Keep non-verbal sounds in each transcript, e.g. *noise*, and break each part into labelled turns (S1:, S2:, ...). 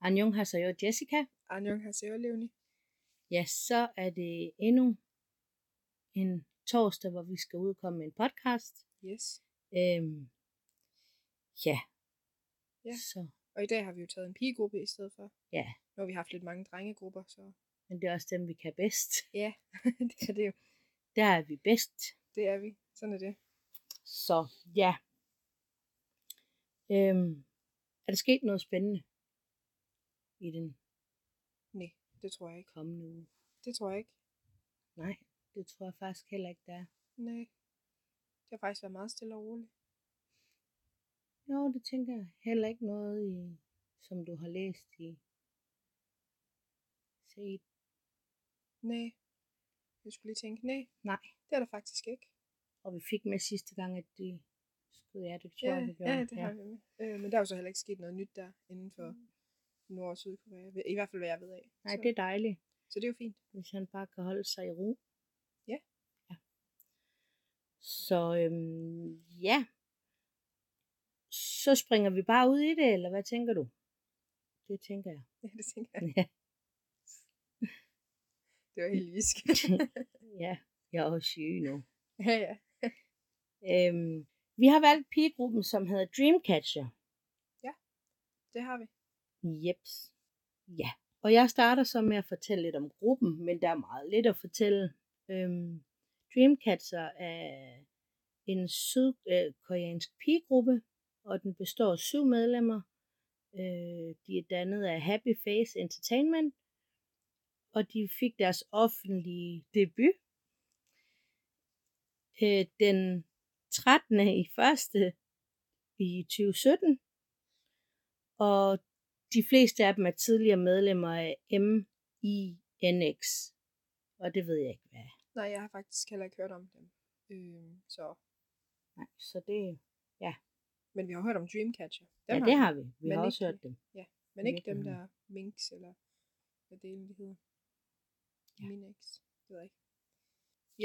S1: Annyeonghaseyo Jessica.
S2: Annyeonghaseyo, Leonie.
S1: Ja, så er det endnu en torsdag, hvor vi skal udkomme med en podcast.
S2: Yes.
S1: Øhm, ja.
S2: Ja.
S1: Så,
S2: Og i dag har vi jo taget en pigegruppe i stedet for.
S1: Ja.
S2: Nu har vi haft lidt mange drengegrupper, så *laughs*
S1: men det er også dem, vi kan bedst.
S2: ja, det er det jo.
S1: Der er vi bedst.
S2: Det er vi. Sådan er det.
S1: Så ja. Øhm, er der sket noget spændende i den
S2: Nej, det tror jeg ikke.
S1: kommende uge?
S2: Det tror jeg ikke.
S1: Nej, det tror jeg faktisk heller ikke, der er.
S2: Nej. Det har faktisk været meget stille og roligt.
S1: Jo, det tænker jeg. Heller ikke noget, i, som du har læst i. Se,
S2: Nej. Jeg skulle lige tænke, nej.
S1: Nej.
S2: Det er der faktisk ikke.
S1: og vi fik med sidste gang, at de skød jer, det tror jeg, vi gjorde.
S2: ja, det har vi med. Øh, men der er jo så heller ikke sket noget nyt der inden for Nord- og Sydkorea. I hvert fald, hvad jeg ved af.
S1: Mm. Nej,
S2: så,
S1: det er dejligt,
S2: så det er jo fint. *laughs*
S1: hvis han bare kan holde sig i ro.
S2: Ja.
S1: ja. Så øhm, ja, så springer vi bare ud i det, eller hvad tænker du? Det tænker jeg.
S2: Ja, det tænker jeg.
S1: Ja.
S2: *laughs* Det var helt visk. *laughs*
S1: ja, jeg er også syg nu.
S2: ja, ja.
S1: Øhm, vi har valgt pigegruppen, som hedder Dreamcatcher.
S2: Det har vi.
S1: Jeps. Ja. Og jeg starter så med at fortælle lidt om gruppen, men der er meget lidt at fortælle. Øhm, Dreamcatcher er en sydkoreansk pigegruppe, og den består af syv medlemmer. Øh, de er dannet af Happy Face Entertainment, og de fik deres offentlige debut øh, den 13. i første i 2017. Og de fleste af dem er tidligere medlemmer af MINX. Og det ved jeg ikke, hvad er.
S2: Nej, jeg har faktisk heller ikke hørt om dem. Øh, så.
S1: Nej, så det...
S2: Men vi har hørt om Dreamcatcher. Dem
S1: Ja, det har vi. Vi
S2: Men
S1: har også
S2: ikke-
S1: hørt dem.
S2: Men ikke dem,
S1: virkelig.
S2: der er minks, eller hvad det egentlig hedder.
S1: Ja.
S2: Ja. Minex, det ved jeg ikke.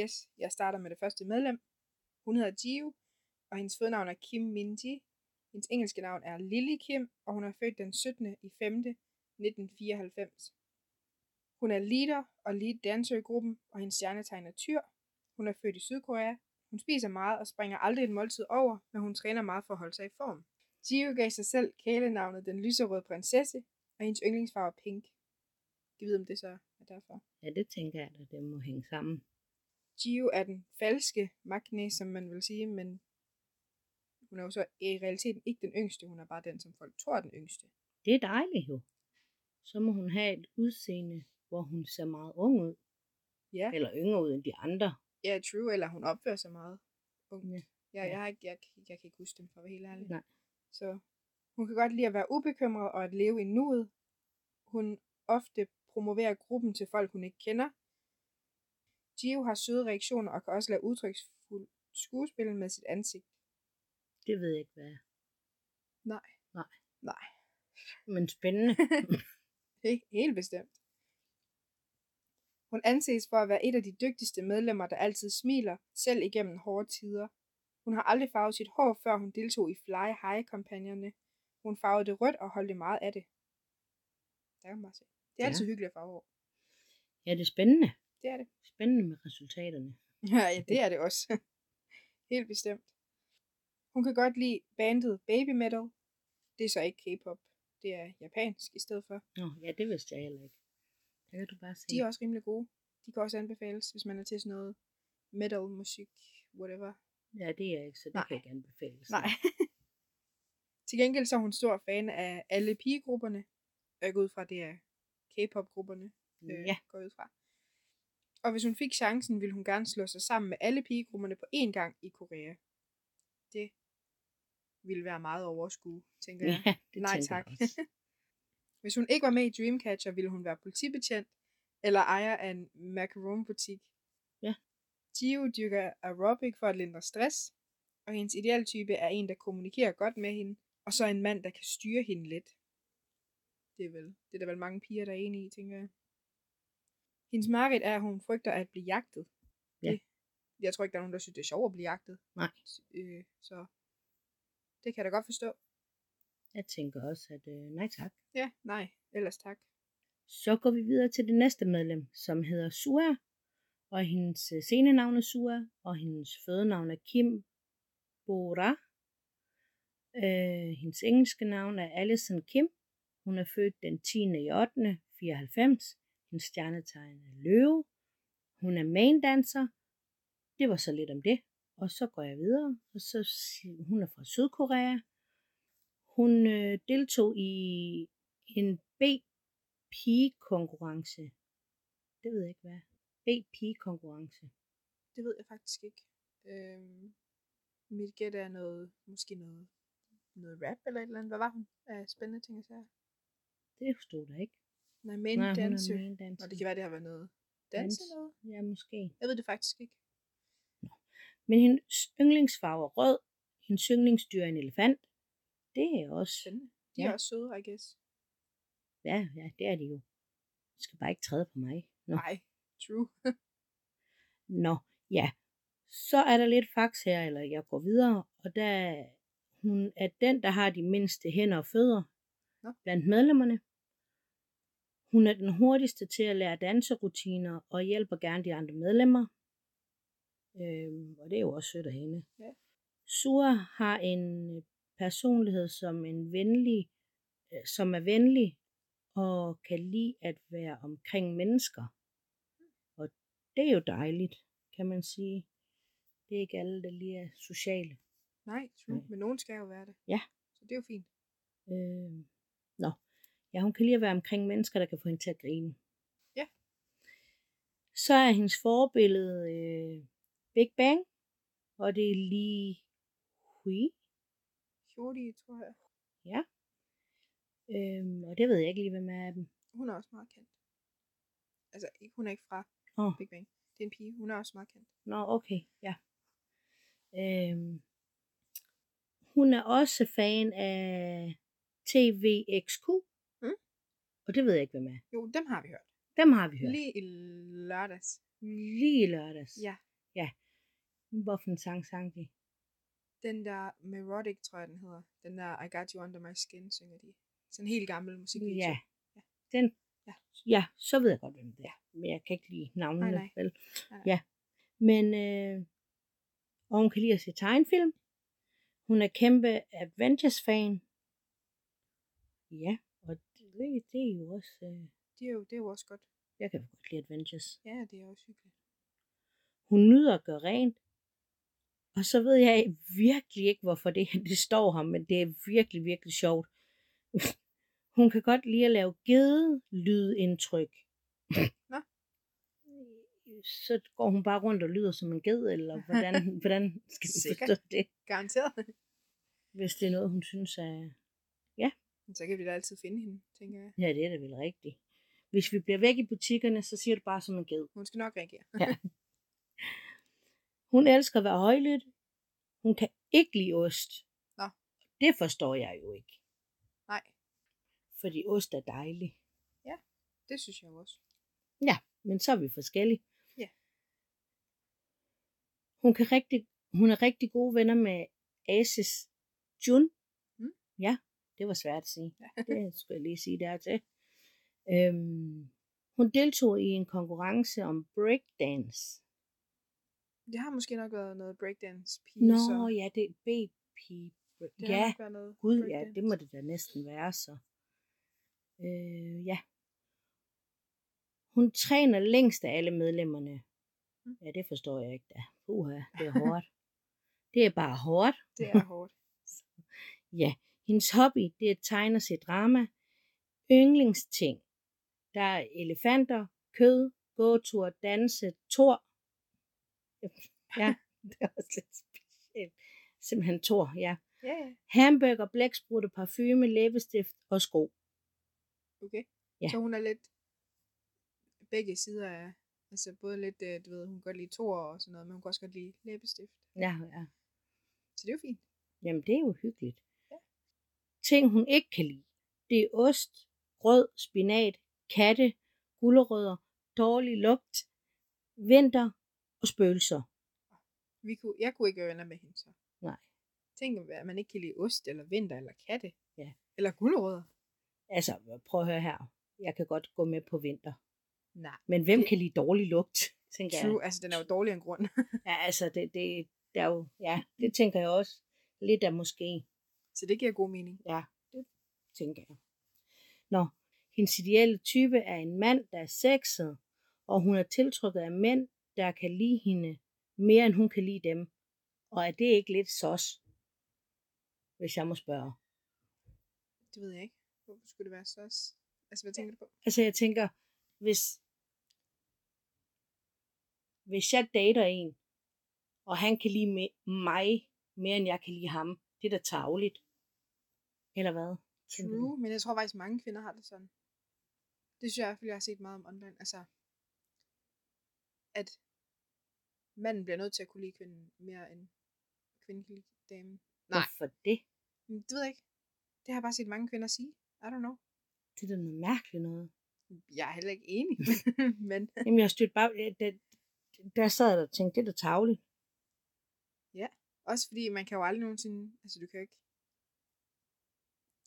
S2: Yes, jeg starter med det første medlem. Hun hedder Jiu, og hendes fødenavn er Kim Minji. Hendes engelske navn er Lily Kim, og hun er født den 17. i 5. 1994. Hun er leader og lead dancer i gruppen, og hendes stjernetegn er tyr. Hun er født i Sydkorea. Hun spiser meget og springer aldrig en måltid over, men hun træner meget for at holde sig i form. Jiu gav sig selv kælenavnet den lyserøde prinsesse, og hendes yndlingsfarve er pink. Jeg ved, om det så er derfor.
S1: Ja, det tænker jeg, at det må hænge sammen.
S2: Gio er den falske Magne, som man vil sige, men hun er jo så i realiteten ikke den yngste, hun er bare den, som folk tror er den yngste.
S1: Det er dejligt jo. Så må hun have et udseende, hvor hun ser meget ung ud.
S2: Ja,
S1: Eller yngre ud end de andre.
S2: ja true, eller hun opfører sig meget ungt.
S1: Ja.
S2: Ja. Jeg, jeg, har ikke, jeg, jeg kan ikke huske dem, for at være helt ærlig.
S1: Nej.
S2: Så hun kan godt lide at være ubekymret og at leve i nuet. Hun ofte promoverer gruppen til folk, hun ikke kender. Gio har søde reaktioner og kan også lade udtryksfuld skuespil med sit ansigt.
S1: Det ved jeg ikke, hvad er.
S2: Nej.
S1: Nej.
S2: Nej.
S1: Men
S2: *laughs*
S1: spændende.
S2: Ikke helt bestemt. Hun anses for at være et af de dygtigste medlemmer, der altid smiler, selv igennem hårde tider. Hun har aldrig farvet sit hår, før hun deltog i Fly High-kampagnerne. Hun farvede det rødt og holdt det meget af det. Der kan man bare se. Det er
S1: Ja.
S2: ja. altid hyggeligt at farve hår.
S1: ja, det er spændende.
S2: Det er det.
S1: Spændende med resultaterne.
S2: Ja, *laughs* ja, det er det også. *laughs* Helt bestemt. Hun kan godt lide bandet Baby Metal. Det er så ikke K-pop. Det er japansk i stedet for.
S1: Nå, ja, det vidste jeg heller ikke. Der kan du bare se.
S2: De er også rimelig gode. De kan også anbefales, hvis man er til sådan noget metal, musik, whatever.
S1: Ja, det er jeg ikke, så det
S2: Nej.
S1: kan jeg ikke anbefales.
S2: til gengæld så er hun stor fan af alle pigegrupperne. Og jeg går ud fra, det er K-pop-grupperne. Øh,
S1: Ja,
S2: Går jeg ud fra. Og hvis hun fik chancen, ville hun gerne slå sig sammen med alle pigegrupperne på én gang i Korea. Det ville være meget overskue, tænker jeg.
S1: ja det
S2: Nej,
S1: tænker jeg
S2: tak.
S1: også.
S2: *laughs* Hvis hun ikke var med i Dreamcatcher, ville hun være politibetjent eller ejer af en macaron-butik.
S1: Ja.
S2: Gio dyrker aerobic for at lindre stress, og hendes idealtype er en, der kommunikerer godt med hende, og så en mand, der kan styre hende lidt. Det er, vel, det er der vel mange piger, der er enige i, tænker jeg. Hendes mareridt er, at hun frygter at blive jagtet.
S1: Ja.
S2: Det- Jeg tror ikke, der er nogen, der synes, det er sjovt at blive jagtet.
S1: Nej.
S2: Øh, så det kan jeg da godt forstå.
S1: Jeg tænker også, at øh, nej tak.
S2: Ja, nej. Ellers tak.
S1: Så går vi videre til det næste medlem, som hedder Sua, og hendes øh, scenenavn er Sua, og hendes fødenavn er Kim Bora. Øh, hendes engelske navn er Alison Kim. Hun er født den 10. i 8. 94. Hendes stjernetegn er løve. Hun er main-dancer. Det var så lidt om det. Og så går jeg videre, og så sig- hun er fra Sydkorea. Hun øh, deltog i en BP-konkurrence. Det ved jeg ikke hvad. BP-konkurrence.
S2: Det ved jeg faktisk ikke. Øhm, mit gæt er noget, måske noget, noget rap eller et eller andet. Hvad var hun? Af spændende ting, jeg sagde.
S1: Det stod der ikke.
S2: Nej, men
S1: Nej, hun
S2: danser.
S1: er main dancer.
S2: Nå, det kan være, det har været noget danse
S1: Dans.
S2: noget.
S1: Ja, måske.
S2: Jeg ved det faktisk ikke.
S1: Men hendes yndlingsfarve er rød. Hendes yndlingsdyr er en elefant. Det er også...
S2: Spændende. De
S1: Ja.
S2: er også søde, I guess.
S1: Ja, ja, det er det jo. Du skal bare ikke træde på mig. Nå.
S2: Nej, true.
S1: Nå, ja. Så er der lidt fax her, eller jeg går videre, og der hun er den, der har de mindste hænder og fødder
S2: Nå.
S1: blandt medlemmerne. Hun er den hurtigste til at lære danserutiner og hjælper gerne de andre medlemmer. Øhm, og det er jo også sødt af hende.
S2: Ja.
S1: Sura har en øh, personlighed som en venlig, øh, som er venlig og kan lide at være omkring mennesker det er jo dejligt, kan man sige. Det er ikke alle, der lige er sociale.
S2: Nej, true.
S1: Nej.
S2: Men nogen skal jo være det.
S1: Ja.
S2: Så det er jo fint.
S1: Øh, nå, ja, hun kan lige være omkring mennesker, der kan få hende til at grine.
S2: Ja.
S1: Så er hendes forbillede øh, Big Bang, og det er lige Hui.
S2: Hurtige, tror jeg.
S1: Øh, og det ved jeg ikke lige, hvem er af dem.
S2: Hun er også meget kendt. Altså, ikke- hun er ikke fra
S1: Åh.
S2: Big Bang. Det er en pige. Hun er også meget kendt.
S1: Nå, okay, ja. Øhm, hun er også fan af TVXQ.
S2: Mm.
S1: Og det ved jeg ikke, hvem er.
S2: Jo, dem har vi hørt.
S1: Dem har vi
S2: Ja.
S1: hørt.
S2: Lige i lørdags.
S1: Lige i lørdags.
S2: Ja.
S1: Hvorfor en sang sang de?
S2: Den der Merotic, tror jeg, den hedder. Den der I Got You Under My Skin, synger de. Sådan en helt gammel musikvideo.
S1: Ja.
S2: Ja.
S1: Den,
S2: Ja.
S1: ja. ja, så ved jeg godt, hvem det er. Men jeg kan ikke lide navnene.
S2: Nej, nej.
S1: Vel?
S2: Nej, nej.
S1: Ja. Men, øh, og hun kan lide at se tegnfilm. Hun er kæmpe Avengers-fan. Ja, og det, det er jo også... Øh,
S2: Det er jo, det er jo også godt.
S1: jeg kan godt lide Avengers.
S2: Ja, det er også hyggeligt.
S1: Hun nyder at gøre rent. Og så ved jeg virkelig ikke, hvorfor det, *laughs* det står ham, men det er virkelig, virkelig sjovt. *laughs* Hun kan godt lide at lave gedelydindtryk.
S2: Nå.
S1: *clears throat* Så går hun bare rundt og lyder som en ged, eller
S2: *laughs*
S1: hvordan, hvordan skal vi
S2: Sikkert.
S1: forstå det,
S2: Garanteret. *laughs*
S1: hvis det er noget, hun synes er...
S2: Men så kan vi da altid finde hende, tænker jeg.
S1: Ja, det er da vel rigtigt. Hvis vi bliver væk i butikkerne, så siger du bare som en ged.
S2: Hun skal nok reagere.
S1: Hun elsker at være højlydt. Hun kan ikke lide ost.
S2: Nå.
S1: Det forstår jeg jo ikke.
S2: Nej,
S1: fordi ost er dejlig.
S2: det synes jeg jo også.
S1: Men så er vi forskellige.
S2: Ja.
S1: Hun, kan rigtig, hun er rigtig gode venner med Asis Jun.
S2: Mm.
S1: Ja, det var svært at sige.
S2: Ja.
S1: *laughs* Det skulle jeg lige sige dertil. Øhm, hun deltog i en konkurrence om breakdance.
S2: Det har måske nok været noget breakdance pige,
S1: Nå,
S2: så
S1: ja, det er BP.
S2: det har
S1: Ja,
S2: nok været noget
S1: gud ja,
S2: breakdance.
S1: det må det da næsten være så. Øh, ja. Hun træner længst af alle medlemmerne.
S2: Mm.
S1: Ja, det forstår jeg ikke da. Uha, det er hårdt. det er bare hårdt.
S2: *laughs* Det er hårdt.
S1: Ja, hendes hobby, det er at tegne og se drama. Yndlingsting. Der er elefanter, kød, gåtur, danse, tor. Ja, det er også lidt specielt. Simpelthen tor, ja.
S2: Ja, ja.
S1: Hamburger, blæksprutte, parfume, læbestift og sko.
S2: Okay.
S1: Ja.
S2: Så hun er lidt begge sider af, altså både lidt, øh, du ved, hun kan godt lide toer og sådan noget, men hun kan også godt lide læbestift.
S1: Ja, ja.
S2: Så det er jo fint.
S1: Jamen, det er jo hyggeligt.
S2: Ja.
S1: Ting, hun ikke kan lide, det er ost, grød, spinat, katte, gulerødder, dårlig lugt, vinter og spøgelser.
S2: Vi kunne, jeg kunne ikke være venner med hende så.
S1: Nej.
S2: Tænk, at man ikke kan lide ost eller vinter eller katte.
S1: Ja.
S2: Eller gulerødder.
S1: Altså, prøv at høre her. Jeg kan godt gå med på vinter.
S2: Nej.
S1: Men hvem
S2: Det-
S1: kan lide dårlig lugt, *laughs* tænker jeg.
S2: True, altså den er jo dårligere end grund. *laughs*
S1: Ja, altså, det, det, der er jo, ja, det tænker jeg også. Lidt af måske,
S2: så det giver god mening.
S1: ja, det tænker jeg. Nå, hendes ideelle type er en mand, der er sexet, og hun er tiltrukket af mænd, der kan lide hende mere, end hun kan lide dem. Og er det ikke lidt sos, hvis jeg må spørge?
S2: Det ved jeg ikke. Hvorfor skulle det være så også? Altså, hvad tænker du på?
S1: Altså, jeg tænker, hvis, hvis jeg dater en, og han kan lide me- mig mere, end jeg kan lide ham, det er da tageligt. Eller hvad? tænker du?
S2: True, men jeg tror faktisk, mange kvinder har det sådan. Det synes jeg i hvert fald, jeg har set meget om online. Altså, at manden bliver nødt til at kunne lide kvinden mere end kvinden kan lide damen. Nej.
S1: Hvorfor det?
S2: Men det ved jeg ikke. Det har jeg bare set mange kvinder sige. I don't know.
S1: Det er da noget mærkeligt noget.
S2: Jeg er heller ikke enig. *laughs* men
S1: Jamen, jeg stødte bare... ja, Der, der sad jeg og tænkte, det er da tageligt.
S2: også fordi, man kan jo aldrig nogensinde... Altså, du kan jo ikke...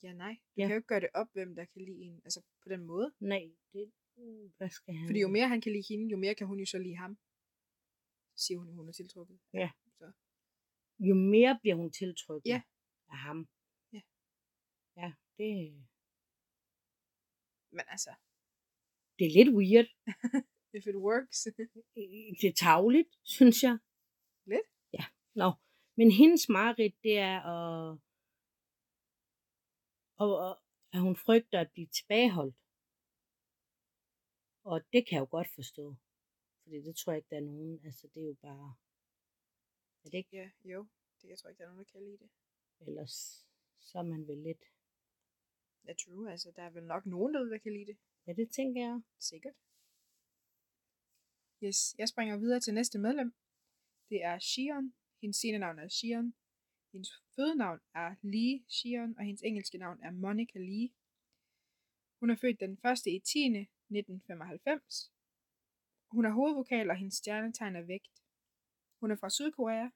S2: Ja, nej. Du
S1: Ja.
S2: kan jo ikke gøre det op, hvem der kan lide en. Altså, på den måde.
S1: Nej, det... uh, Hvad skal han...
S2: Fordi jo mere han kan lide hende, jo mere kan hun jo så lide ham. Siger hun, hun er tiltrukket.
S1: Ja.
S2: Så.
S1: jo mere bliver hun tiltrykket
S2: Ja.
S1: af ham.
S2: Ja.
S1: Ja, det,
S2: Men altså,
S1: det er lidt weird.
S2: if it works.
S1: Det er tageligt, synes jeg.
S2: Lidt.
S1: Ja, nå. Men hendes mareridt, det er at... Og, og, at hun frygter at blive tilbageholdt. Og det kan jeg jo godt forstå. Fordi det tror jeg ikke, der er nogen... Altså, det er jo bare... Er det ikke?
S2: *laughs* ja, jo. Det, jeg tror ikke, der er nogen, der kan lide det.
S1: Ellers så er man vel lidt...
S2: Ja, true. Altså, der er vel nok nogen derude, der kan lide det.
S1: Ja, det tænker jeg.
S2: Sikkert. Yes, jeg springer videre til næste medlem. Det er Shion. Hendes scenenavn er Shion. Hendes fødenavn er Lee Shion, og hendes engelske navn er Monica Lee. Hun er født den 1. i 10. 1995. Hun er hovedvokal, og hendes stjernetegn er vægt. Hun er fra Sydkorea.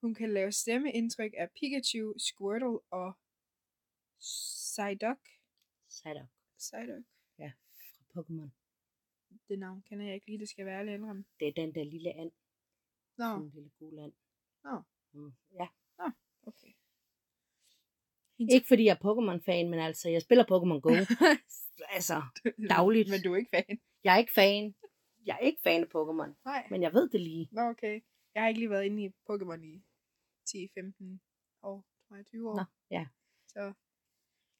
S2: Hun kan lave stemmeindtryk af Pikachu, Squirtle og Psyduck.
S1: Psyduck
S2: Psyduck.
S1: fra Pokémon.
S2: Det navn kender jeg ikke lige, det skal jeg være ærlig at indrømme.
S1: Det er den der lille and.
S2: Nå,
S1: Sådan en lille gul and.
S2: Nå.
S1: Mm, ja.
S2: okay.
S1: Ikke fordi jeg er Pokémon-fan, men altså, jeg spiller Pokémon Go. altså, *laughs* Dagligt.
S2: Men du er ikke fan.
S1: jeg er ikke fan. Jeg er ikke fan af Pokémon,
S2: Nej.
S1: men jeg ved det lige.
S2: Nå, okay. Jeg har ikke lige været inde i Pokémon i 10, 15 år, tror jeg, 20 år.
S1: Nå, ja.
S2: Så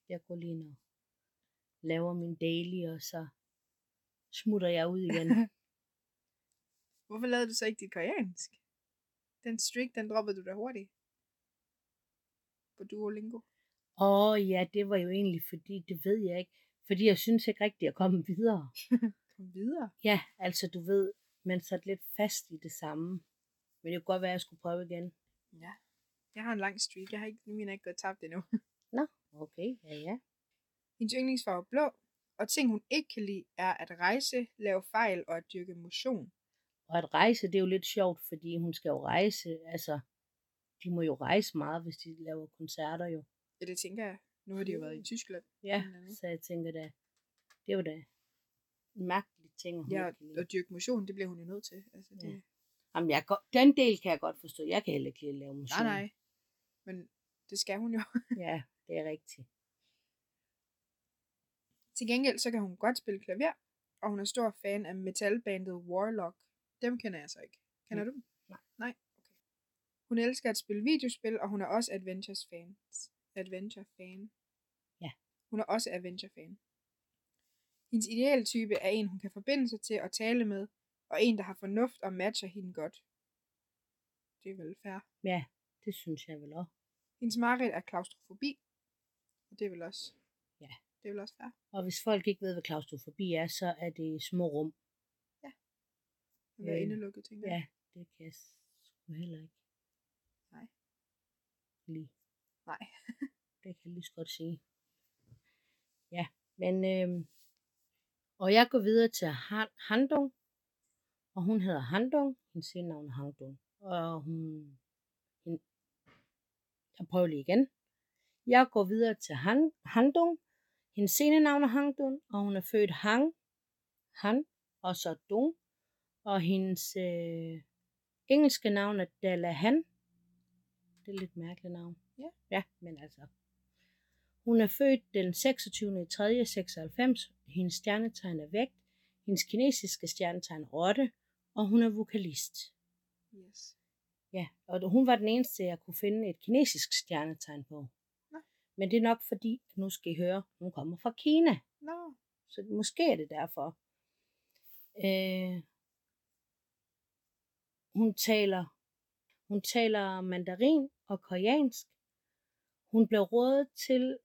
S1: Jeg går lige nu laver min daily, og så smutter jeg ud igen.
S2: hvorfor lavede du så ikke dit koreansk? Den streak, den droppede du da hurtigt. På Duolingo.
S1: Åh oh, ja, det var jo egentlig fordi, det ved jeg ikke. Fordi jeg synes ikke rigtigt, at jeg kom videre.
S2: Kom videre.
S1: Ja, altså du ved, man satte lidt fast i det samme. Men det kunne godt være, at jeg skulle prøve igen.
S2: Ja. Jeg har en lang streak. Jeg har ikke, min er ikke gået tabt endnu. *laughs*
S1: Okay, ja ja.
S2: Hendes yndlingsfarve er blå, og ting hun ikke kan lide er at rejse, lave fejl og at dyrke motion.
S1: Og at rejse, det er jo lidt sjovt, fordi hun skal jo rejse, altså, de må jo rejse meget, hvis de laver koncerter jo.
S2: Ja, det tænker jeg. Nu har de jo
S1: Mm.
S2: været i Tyskland.
S1: Ja,
S2: Eller noget.
S1: så jeg tænker da, det var da en mærkelig ting, at hun
S2: Ja,
S1: ikke kan lide.
S2: og dyrke motion, det bliver hun jo nødt til. Altså, det,
S1: Ja. Jamen, jeg, kan- den del kan jeg godt forstå. Jeg kan heller ikke lide at lave musik.
S2: Nej, nej. Men det skal hun jo.
S1: *laughs*
S2: *laughs*
S1: Ja, det er rigtigt.
S2: Til gengæld så kan hun godt spille klaver, og hun er stor fan af metalbandet Warlock. Dem kender jeg så ikke. Kender du dem?
S1: Nej.
S2: Nej? Okay. Hun elsker at spille videospil, og hun er også Adventures fan. Adventure fan.
S1: Ja.
S2: Hun er også Adventure fan. Hendes ideelle type er en, hun kan forbinde sig til og tale med, og en, der har fornuft og matcher hende godt. Det er vel fair.
S1: Ja, det synes jeg vel også.
S2: Hendes mareridt er klaustrofobi. Og det er vel også...
S1: Ja.
S2: Det er vel også fair.
S1: Og hvis folk ikke ved, hvad klaustrofobi er, så er det små rum.
S2: At være
S1: Øh,
S2: indelukket, tænker jeg.
S1: Ja, det kan jeg sgu heller ikke.
S2: Nej.
S1: Lige.
S2: Nej.
S1: *laughs* det kan jeg lige så godt sige. Ja, men... øhm, og jeg går videre til Han- Handung. Og hun hedder Handung. Hendes navn er Handung. Og hun... hun jeg prøver lige igen. Jeg går videre til Han, Handung. Hendes scenenavn er Handung, og hun er født Hang, Han og så Dung. Og hendes øh, engelske navn er Dalla Han. Det er et lidt mærkeligt navn.
S2: Ja.
S1: ja, men altså. Hun er født den 26. i 3. 96. Hendes stjernetegn er vægt. Hendes kinesiske stjernetegn er rotte. Og hun er vokalist.
S2: Yes.
S1: Ja, og hun var den eneste, jeg kunne finde et kinesisk stjernetegn på.
S2: Nå.
S1: Men det er nok fordi, at nu skal I høre, hun kommer fra Kina.
S2: Nå,
S1: Så måske er det derfor. Øh, hun taler hun taler mandarin og koreansk. Hun blev rådet til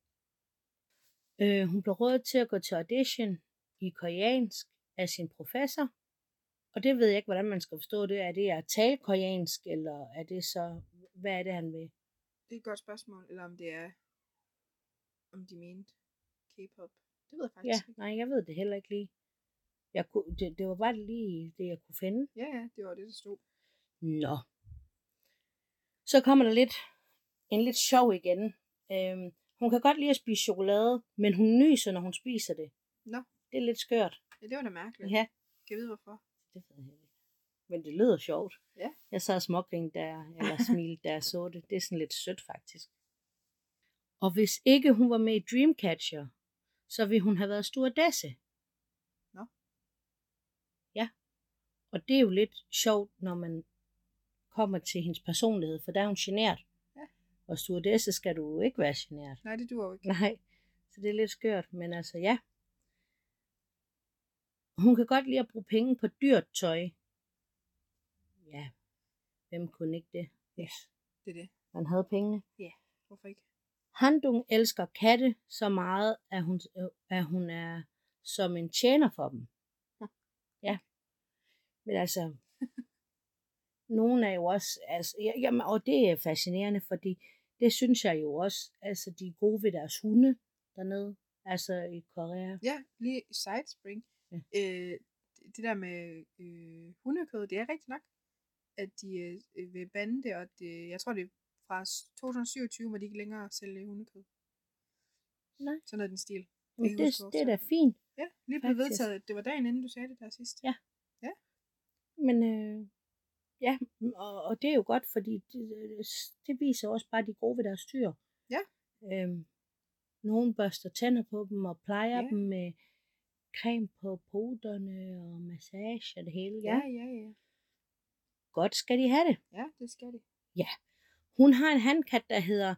S1: øh, hun blev rådet til at gå til audition i koreansk af sin professor. Og det ved jeg ikke, hvordan man skal forstå det. Er det at tale koreansk, eller er det så, hvad er det, han vil?
S2: det er et godt spørgsmål. Eller om det er, om de mente K-pop. Det ved jeg
S1: Ja,
S2: faktisk ikke.
S1: nej, jeg ved det heller ikke lige. Jeg kunne, det, det var bare lige det, jeg kunne finde.
S2: Ja, ja, det var det, der stod.
S1: Nå. Så kommer der lidt, en lidt sjov igen. Øhm, hun kan godt lide at spise chokolade, men hun nyser, når hun spiser det.
S2: Nå.
S1: Det er lidt skørt.
S2: Ja, det var da mærkeligt.
S1: Ja.
S2: Kan jeg vide, hvorfor?
S1: Det ved jeg ikke. Men det lyder sjovt.
S2: Ja.
S1: Jeg sad smågrin der, eller
S2: *laughs*
S1: smilte, der så det. Det er sådan lidt sødt, faktisk. Og hvis ikke hun var med i Dreamcatcher, så ville hun have været stewardesse.
S2: Nå.
S1: Ja. Og det er jo lidt sjovt, når man kommer til hendes personlighed, for der er hun genert.
S2: Ja.
S1: Og stewardesse skal du jo ikke være genert.
S2: Nej, det duer jo ikke.
S1: Nej, så det er lidt skørt, men altså ja. Hun kan godt lide at bruge penge på dyrt tøj. Ja, hvem kunne ikke det? Yes.
S2: Det er det.
S1: Man havde pengene.
S2: Hvorfor ikke?
S1: Handung elsker katte så meget, at hun, øh, at hun er som en tjener for dem.
S2: Nå.
S1: Ja. Men altså, nogen er jo også, altså, ja, jamen, og det er fascinerende, fordi det synes jeg jo også, altså de er gode ved deres hunde dernede, altså i Korea.
S2: Ja, lige sidespring.
S1: Ja.
S2: Ja. Øh, det- det der med øh, hundekød, det er rigtigt nok, at de øh, vil bande det, og det, jeg tror, det er fra s- 2027, må de ikke længere sælge hundekød.
S1: Nej.
S2: Sådan noget i den stil.
S1: Men
S2: kan
S1: det,
S2: huske, hvor
S1: det er da fint,
S2: Ja, lige blev
S1: Faktisk.
S2: vedtaget. Det var dagen inden, du sagde det der sidst.
S1: Ja. men øh, ja, mm, og, og det er jo godt, fordi det, det viser også bare, at de er gode ved deres dyr.
S2: Ja.
S1: Øhm, nogen børster tænder på dem og plejer
S2: Ja.
S1: dem med creme på poterne og massage og det hele.
S2: ja, ja, ja.
S1: Godt skal de have det.
S2: Ja, det skal de.
S1: Hun har en handkat, der hedder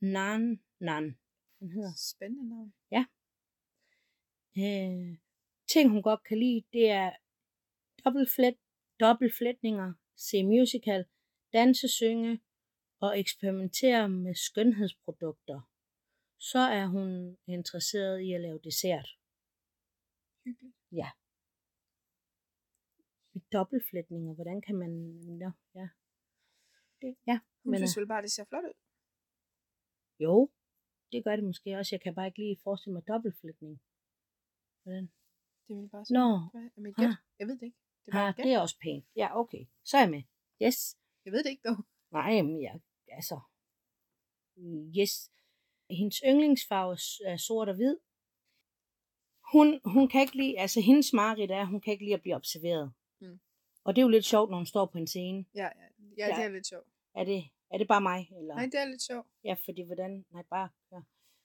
S1: Nan Nan. Den hedder.
S2: Spændende navn.
S1: Øh, ting, hun godt kan lide, det er dobbeltflet, dobbeltflætninger, se musical, danse, synge og eksperimentere med skønhedsprodukter. Så er hun interesseret i at lave dessert.
S2: Hyggeligt.
S1: Dobbeltflætninger, hvordan kan man... Nå, ja. Det, ja, Men,
S2: Hun Men, synes
S1: øh,
S2: vel bare, det ser flot ud.
S1: jo, det gør det måske også. Jeg kan bare ikke lige forestille mig dobbeltflætning. Hvordan?
S2: Det vil bare se.
S1: Nå,
S2: Hvad er mit gæt?
S1: Ah.
S2: Jeg ved det ikke. Det er bare
S1: ah,
S2: et gæt.
S1: det er også pænt. Ja, okay. Så er jeg med. Yes.
S2: Jeg ved det ikke dog.
S1: Nej, men jeg, altså, øh, yes. Hendes yndlingsfarve s- er sort og hvid. Hun, hun kan ikke lide, altså hendes mareridt er, hun kan ikke lide at blive observeret.
S2: Mm.
S1: Og det er jo lidt sjovt, når hun står på en scene.
S2: Ja, ja, ja,
S1: Ja.
S2: det er lidt sjovt.
S1: Er det, er det bare mig? Eller?
S2: Nej, det er lidt sjovt.
S1: Ja, fordi hvordan, nej bare, ja.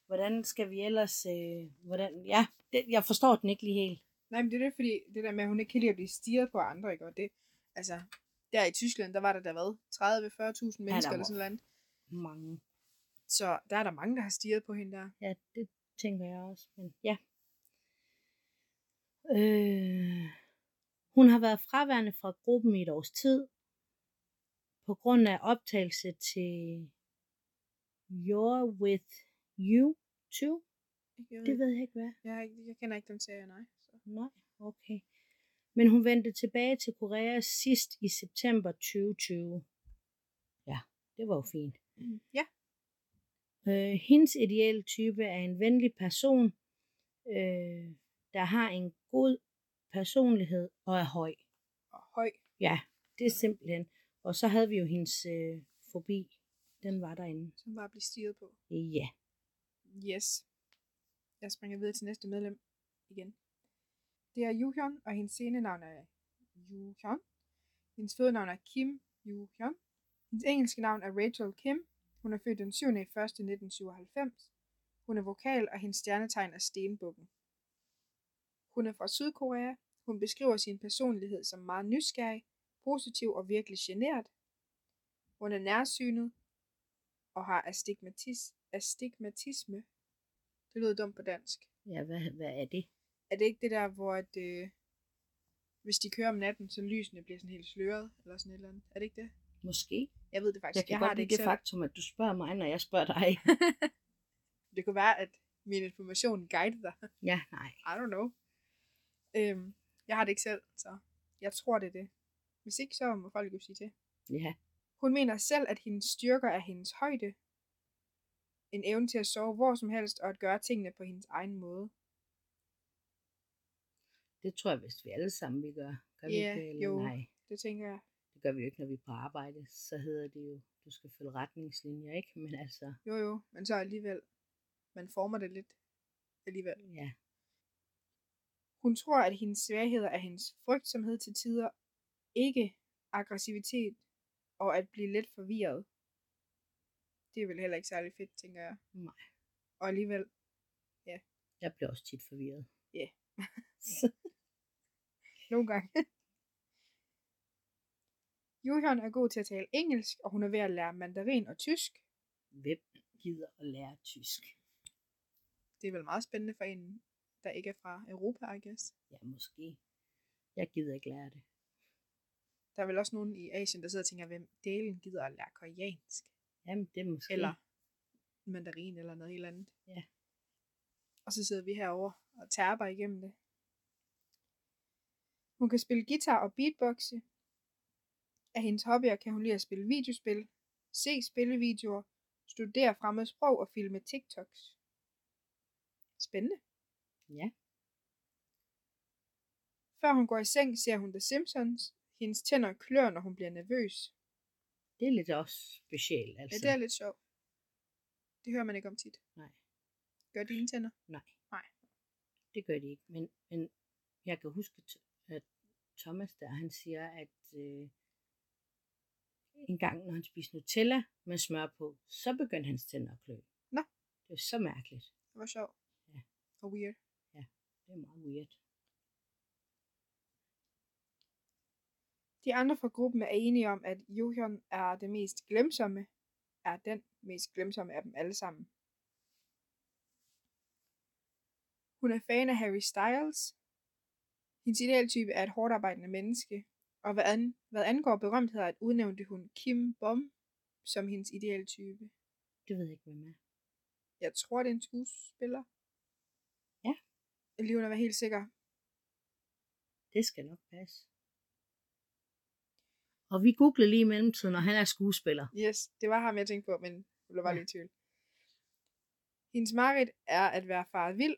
S1: hvordan skal vi ellers, øh, hvordan, ja, det, jeg forstår den ikke lige helt.
S2: Nej, men det er det, fordi det der med, at hun ikke kan lide at blive stirret på af andre, ikke? Og det, altså, der i Tyskland, der var der der hvad? 30-40.000 mennesker
S1: der
S2: eller
S1: må-
S2: sådan noget.
S1: Mange.
S2: Så der er der mange, der har stirret på hende der.
S1: Ja, det tænker jeg også, men ja. Øh, hun har været fraværende fra gruppen i et års tid, på grund af optagelse til You're With You 2.
S2: Jeg,
S1: Det
S2: ved,
S1: ved jeg ikke, hvad.
S2: jeg, har ikke- jeg kender ikke den serie, nej. Så.
S1: Nej, okay. Men hun vendte tilbage til Korea sidst i september 2020. Ja, det var jo fint.
S2: Ja,
S1: Øh, hendes ideelle type er en venlig person, øh, der har en god personlighed og er høj.
S2: og høj.
S1: Ja, det er simpelthen. Og så havde vi jo hendes øh, fobi, den var derinde.
S2: som var at blive styret på.
S1: Ja.
S2: Yes. Jeg springer videre til næste medlem igen. Det er Yuhyun, og hendes scenenavn er Yuhyun. Hendes fødenavn er Kim Yuhyun. Hendes engelske navn er Rachel Kim. Hun er født den 7. 1. 1997. Hun er vokal, og hendes stjernetegn er stenbukken. Hun er fra Sydkorea. Hun beskriver sin personlighed som meget nysgerrig, positiv og virkelig genert. Hun er nærsynet, og har astigmatis, astigmatisme. Det lyder dumt på dansk.
S1: Ja, hvad, hvad er det?
S2: Er det ikke det der, hvor at, øh, hvis de kører om natten, så lysene bliver sådan helt sløret, eller sådan et eller andet? Er det ikke det?
S1: Måske.
S2: Jeg ved det faktisk.
S1: Jeg kan jeg godt lide
S2: ikke
S1: det faktum, at du spørger mig, når jeg spørger dig.
S2: Det kunne være, at min information guidede dig.
S1: *laughs*
S2: *laughs*
S1: ja, nej.
S2: I don't know. Øhm, jeg har det ikke selv, så jeg tror, det er det. Hvis ikke, så må folk jo sige til.
S1: Ja.
S2: Hun mener selv, at hendes styrker er hendes højde, en evne til at sove hvor som helst, og at gøre tingene på hendes egen måde.
S1: Det tror jeg vist, vi alle sammen vi gør. Gør vi
S2: Ja,
S1: ikke det, eller
S2: jo.
S1: nej?
S2: Det tænker jeg.
S1: Det gør vi jo ikke, når vi er på arbejde. Så hedder det jo, du skal følge retningslinjer, ikke? Men altså,
S2: Jo jo, men så alligevel. Man former det lidt alligevel.
S1: ja.
S2: Hun tror, at hendes svagheder er hendes frygtsomhed til tider, ikke aggressivitet, og at blive lidt forvirret. Det er vel heller ikke særlig fedt, tænker jeg.
S1: Nej.
S2: Og alligevel,
S1: Jeg bliver også tit forvirret.
S2: Ja.
S1: *laughs* Så-
S2: nogle gange. *laughs* Johan er god til at tale engelsk, og hun er ved at lære mandarin og tysk.
S1: Hvem gider at lære tysk?
S2: Det er vel meget spændende for en, der ikke er fra Europa, I guess.
S1: Ja, måske. Jeg gider ikke lære det.
S2: Der er vel også nogen i Asien, der sidder og tænker, hvem delen gider at lære koreansk?
S1: Jamen, det er måske.
S2: Eller mandarin eller noget helt andet.
S1: Ja.
S2: Og så sidder vi herover og tærper igennem det. Hun kan spille guitar og beatboxe. Af hendes hobbyer kan hun lide at spille videospil, se spillevideoer, studere fremmede sprog og filme TikToks. Spændende.
S1: Ja.
S2: Før hun går i seng, ser hun The Simpsons. Hendes tænder klør, når hun bliver nervøs.
S1: Det er lidt også specielt,
S2: Ja,
S1: altså.
S2: det er lidt sjovt. Det hører man ikke om tit.
S1: Nej.
S2: Gør dine tænder?
S1: Nej.
S2: Nej.
S1: Det gør de ikke. Men, men jeg kan huske, t- at Thomas der, han siger, at øh, en gang, når han spiste Nutella med smør på, så begyndte hans tænder at klø.
S2: Nå.
S1: Det er så mærkeligt.
S2: Det var sjovt.
S1: Ja.
S2: Og weird.
S1: Det er meget weird.
S2: De andre fra gruppen er enige om, at Johan er det mest glemsomme, er den mest glemsomme af dem alle sammen. Hun er fan af Harry Styles. Hendes idealtype er et hårdarbejdende menneske, og hvad, an, hvad angår berømtheder, at udnævnte hun Kim Bom som hendes idealtype.
S1: Det ved jeg ikke, hvem er.
S2: Jeg tror, det er en skuespiller.
S1: Ja.
S2: Jeg er lige under at være helt sikker.
S1: Det skal nok passe. Og vi googlede lige i mellemtiden, og han er skuespiller.
S2: Yes, det var ham, jeg tænkte på, men jeg blev bare
S1: Ja.
S2: lige i tvivl. Hendes mareridt er at være faret vild.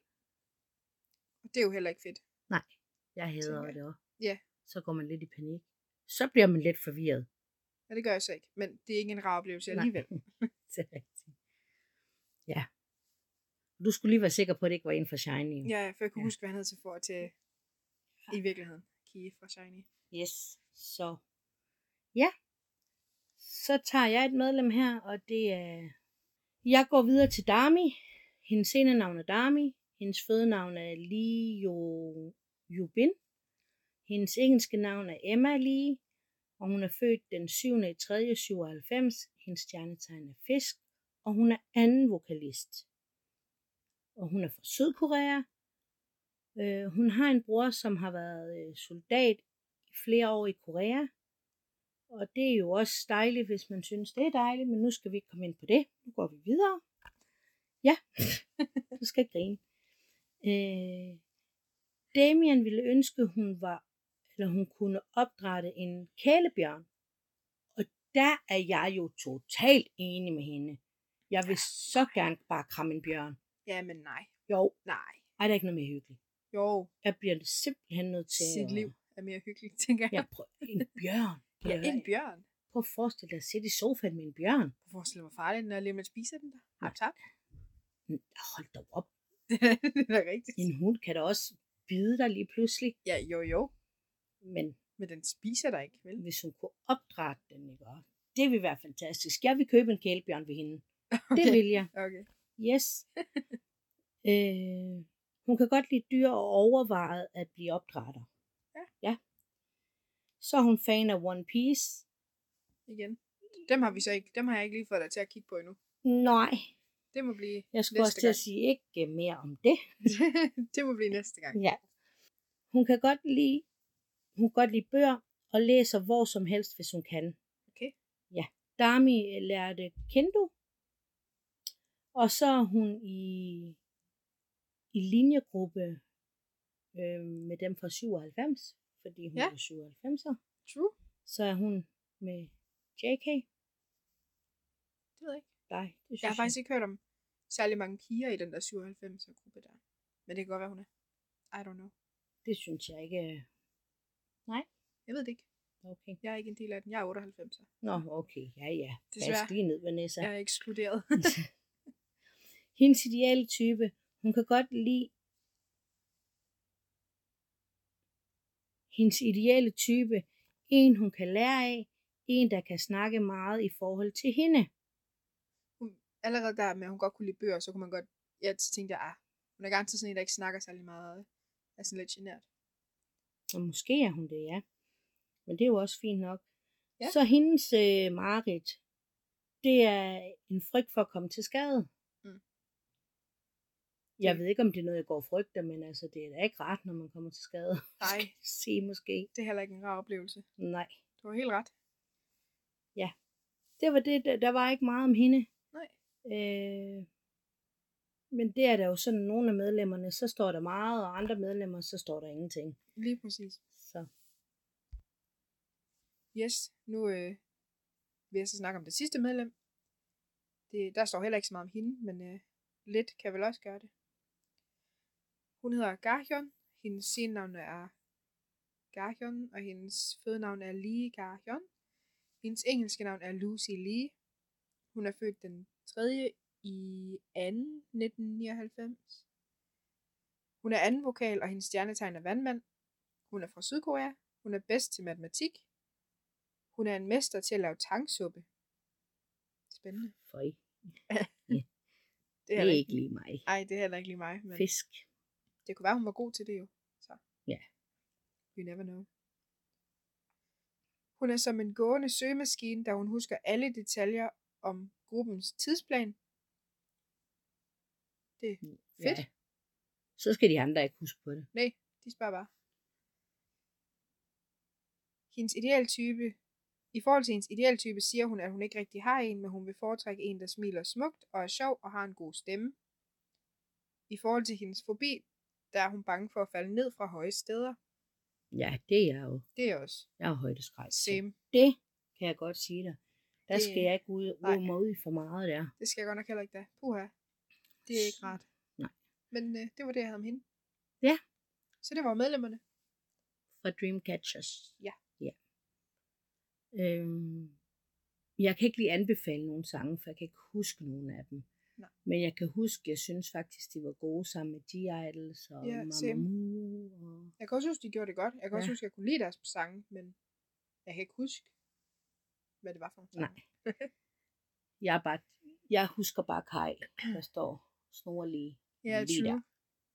S2: Og det er jo heller ikke fedt.
S1: Jeg hader
S2: Tænker jeg.
S1: det også.
S2: Ja.
S1: Så går man lidt i panik. Så bliver man lidt forvirret.
S2: Ja, det gør jeg så ikke. Men det er ikke en rar oplevelse
S1: Nej.
S2: alligevel.
S1: *laughs* Det er rigtigt. Ja. Du skulle lige være sikker på, at det ikke var en fra Shining.
S2: Ja, for jeg kunne
S1: Ja.
S2: huske, hvad han hed til for til i virkeligheden. Kie fra Shiny.
S1: Yes. Så. Ja. Så tager jeg et medlem her, og det er... Jeg går videre til Dami. Hendes scenenavn er Dami. Hendes fødenavn er Lee jo... Jubin. Hendes engelske navn er Emma Lee, og hun er født den 7. i 3. 97. Hendes stjernetegn er fisk, og hun er anden vokalist. Og hun er fra Sydkorea. Øh, hun har en bror, som har været øh, soldat i flere år i Korea. Og det er jo også dejligt, hvis man synes, det er dejligt, men nu skal vi ikke komme ind på det. Nu går vi videre. Ja, du skal ikke grine. Øh, Damien ville ønske, hun var, eller hun kunne opdrætte en kælebjørn. Og der er jeg jo totalt enig med hende. Jeg vil så gerne bare kramme en bjørn.
S2: Ja, men nej.
S1: Jo,
S2: Nej.
S1: ej, der er ikke noget mere hyggeligt.
S2: Jo,
S1: Jeg bliver simpelthen nødt til
S2: sit
S1: at-
S2: liv er mere hyggeligt, *laughs* tænker jeg.
S1: Jeg prøver, en bjørn.
S2: Ja,
S1: Prøv at
S2: en
S1: høre.
S2: bjørn.
S1: Prøv Prøv at forestille dig at sidde i sofaen med en bjørn.
S2: Prøv at forestille dig, hvor farligt den er lige om lidt spiser den der. Har du tabt? *laughs*
S1: Hold da op.
S2: det er rigtigt.
S1: En hund kan da også bide dig lige pludselig.
S2: Ja, jo jo.
S1: Men
S2: Men den spiser dig ikke, vel?
S1: hvis hun kunne opdrage den, ikke også? Det ville være fantastisk. Jeg vil købe en kælebjørn ved
S2: *laughs*
S1: hende. Det
S2: Okay.
S1: vil jeg.
S2: Okay. *laughs*
S1: Yes. øh, hun kan godt lide dyr og overvejet at blive opdrætter.
S2: Ja.
S1: ja. Så er hun fan af One Piece.
S2: Igen. Dem har vi så ikke. Dem har jeg ikke lige fået dig til at kigge på endnu.
S1: Nej,
S2: Det må blive, *laughs*
S1: jeg skulle
S2: Næste
S1: også til at
S2: gang.
S1: sige ikke mere om det.
S2: det må blive næste gang.
S1: Ja. Hun kan godt lide, hun kan godt lide bøger og læser hvor som helst, hvis hun kan.
S2: Okay.
S1: Ja. Dami øh, lærte kendo. Og så er hun i, i linjegruppe øh, med dem fra 97, fordi hun
S2: Ja.
S1: ja. er 97'er.
S2: True.
S1: Så er hun med JK.
S2: Det ved jeg ikke.
S1: Nej, det synes
S2: Jeg har faktisk ikke hørt om særlig mange piger i den der 97'er gruppe der. Men det kan godt være, hun er. I don't know.
S1: det synes jeg ikke. øh,
S2: Jeg ved det ikke.
S1: Okay.
S2: Jeg er ikke en del af den. Jeg er 98'er.
S1: Nå, okay. Ja, ja.
S2: Desværre.
S1: Bas lige ned, Vanessa.
S2: Jeg er ekskluderet. *laughs*
S1: Hendes ideelle type, hun kan godt lide... Hendes ideelle type, en hun kan lære af, en der kan snakke meget i forhold til hende.
S2: Allerede der med, at hun godt kunne lide bøger, så kunne man godt... Ja, så tænkte jeg, ah, hun er garanteret sådan en, der ikke snakker særlig meget. Er sådan lidt genert.
S1: Og måske er hun det, ja. Men det er jo også fint nok.
S2: Ja.
S1: Ja. Så hendes øh, mareridt, det er en frygt for at komme til skade.
S2: Mm.
S1: Mm. Jeg
S2: Det-
S1: ved ikke, om det er noget, jeg går og frygter, men altså, det er da ikke rart, når man kommer til skade. *laughs*
S2: Nej,
S1: Se måske.
S2: det er heller ikke en rar oplevelse.
S1: Nej.
S2: Du har helt ret.
S1: det var det, der, der var ikke meget om hende.
S2: Nej.
S1: Øh, men det er der jo sådan, nogle af medlemmerne, så står der meget, og andre medlemmer, så står der ingenting.
S2: Lige præcis.
S1: Så
S2: Yes, nu øh, vil jeg så snakke om det sidste medlem. Det, der står heller ikke så meget om hende, men øh, lidt kan vel også gøre det. Hun hedder Garhyon. Hendes scenenavn er Garhyon, og hendes fødenavn er Lee Garhyon. Hendes engelske navn er Lucy Lee. Hun er født den 3. i 2. 1999. Hun er anden vokal, og hendes stjernetegn er vandmand. Hun er fra Sydkorea. Hun er bedst til matematik, hun er en mester til at lave tangsuppe. Spændende.
S1: for I,
S2: Det
S1: det
S2: heller
S1: er ikke lige mig.
S2: Ej, det er heller ikke lige mig. Men
S1: Fisk.
S2: det kunne være, hun var god til det jo. Så.
S1: Ja.
S2: You never know. Hun er som en gående søgemaskine, da hun husker alle detaljer om gruppens tidsplan. Det er fedt.
S1: Ja. Så skal de andre ikke huske på det.
S2: Nej, de spørger bare. Hendes idealtype, i forhold til hendes idealtype, siger hun, at hun ikke rigtig har en, men hun vil foretrække en, der smiler smukt og er sjov og har en god stemme. I forhold til hendes fobi, der er hun bange for at falde ned fra høje steder.
S1: Ja, det er jeg jo.
S2: Det er også
S1: Jeg er højdeskræk. så
S2: same.
S1: Det kan jeg godt sige dig. Der
S2: Det-
S1: skal jeg ikke ud,
S2: nej.
S1: ud mig ud i for meget der.
S2: Det skal jeg godt nok heller ikke da. Puha. Det er ikke rart.
S1: Nej.
S2: Men øh, det var det, jeg havde om hende.
S1: Ja.
S2: Så det var medlemmerne.
S1: Fra Dreamcatchers.
S2: Ja.
S1: ja. Øhm, jeg kan ikke lige anbefale nogen sange, for jeg kan ikke huske nogen af dem.
S2: Nej.
S1: Men jeg kan huske, jeg synes faktisk, de var gode sammen med G-Idols og
S2: Ja,
S1: yeah,
S2: same.
S1: Mamamoo. Og...
S2: Jeg kan også huske, de gjorde det godt. Jeg kan ja. også
S1: Ja.
S2: huske, jeg kunne lide deres sange, men jeg kan ikke huske, hvad det var for en sang.
S1: Nej. Jeg, er bare, jeg husker bare Kai,
S2: *clears throat*
S1: der står snorlige.
S2: Ja,
S1: Lige
S2: true.
S1: der.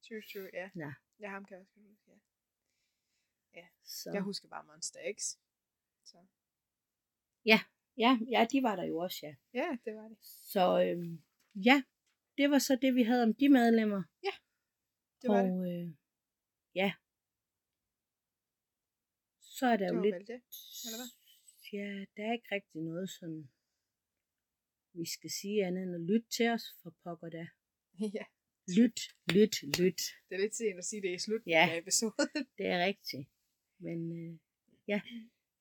S2: True, true, ja.
S1: Ja.
S2: Ja, ham kan jeg også godt huske, ja.
S1: Så.
S2: Jeg husker bare Monster X. Så.
S1: ja, ja, de var der jo også, ja.
S2: Ja, det var det.
S1: Så øhm, ja, det var så det, vi havde om de medlemmer.
S2: Det var
S1: og
S2: det.
S1: Øh, ja, så er der
S2: Det
S1: jo
S2: var
S1: lidt
S2: vel det. *laughs* eller hvad?
S1: Ja, der er ikke rigtig noget, som vi skal sige andet end at lytte til os for pokker da.
S2: ja,
S1: Lyt, lyt, lyt.
S2: det er lidt sent at sige det i slutningen
S1: Ja.
S2: af episoden. *laughs*
S1: Det er rigtigt. Men øh,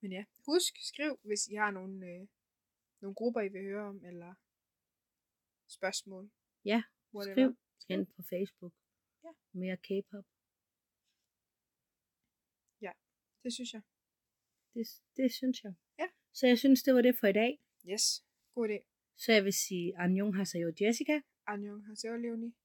S2: Men ja, husk, skriv, hvis I har nogle, øh, nogle grupper, I vil høre om, eller spørgsmål.
S1: Ja,
S2: Whatever.
S1: skriv ind på Facebook.
S2: Ja.
S1: Mere K-pop.
S2: Det synes jeg.
S1: Det, det synes jeg.
S2: Ja.
S1: Så jeg synes, det var det for i dag.
S2: Yes, god idé.
S1: Så jeg vil sige, Anjong har sig jo Jessica.
S2: Annyeonghaseyo, Leonie.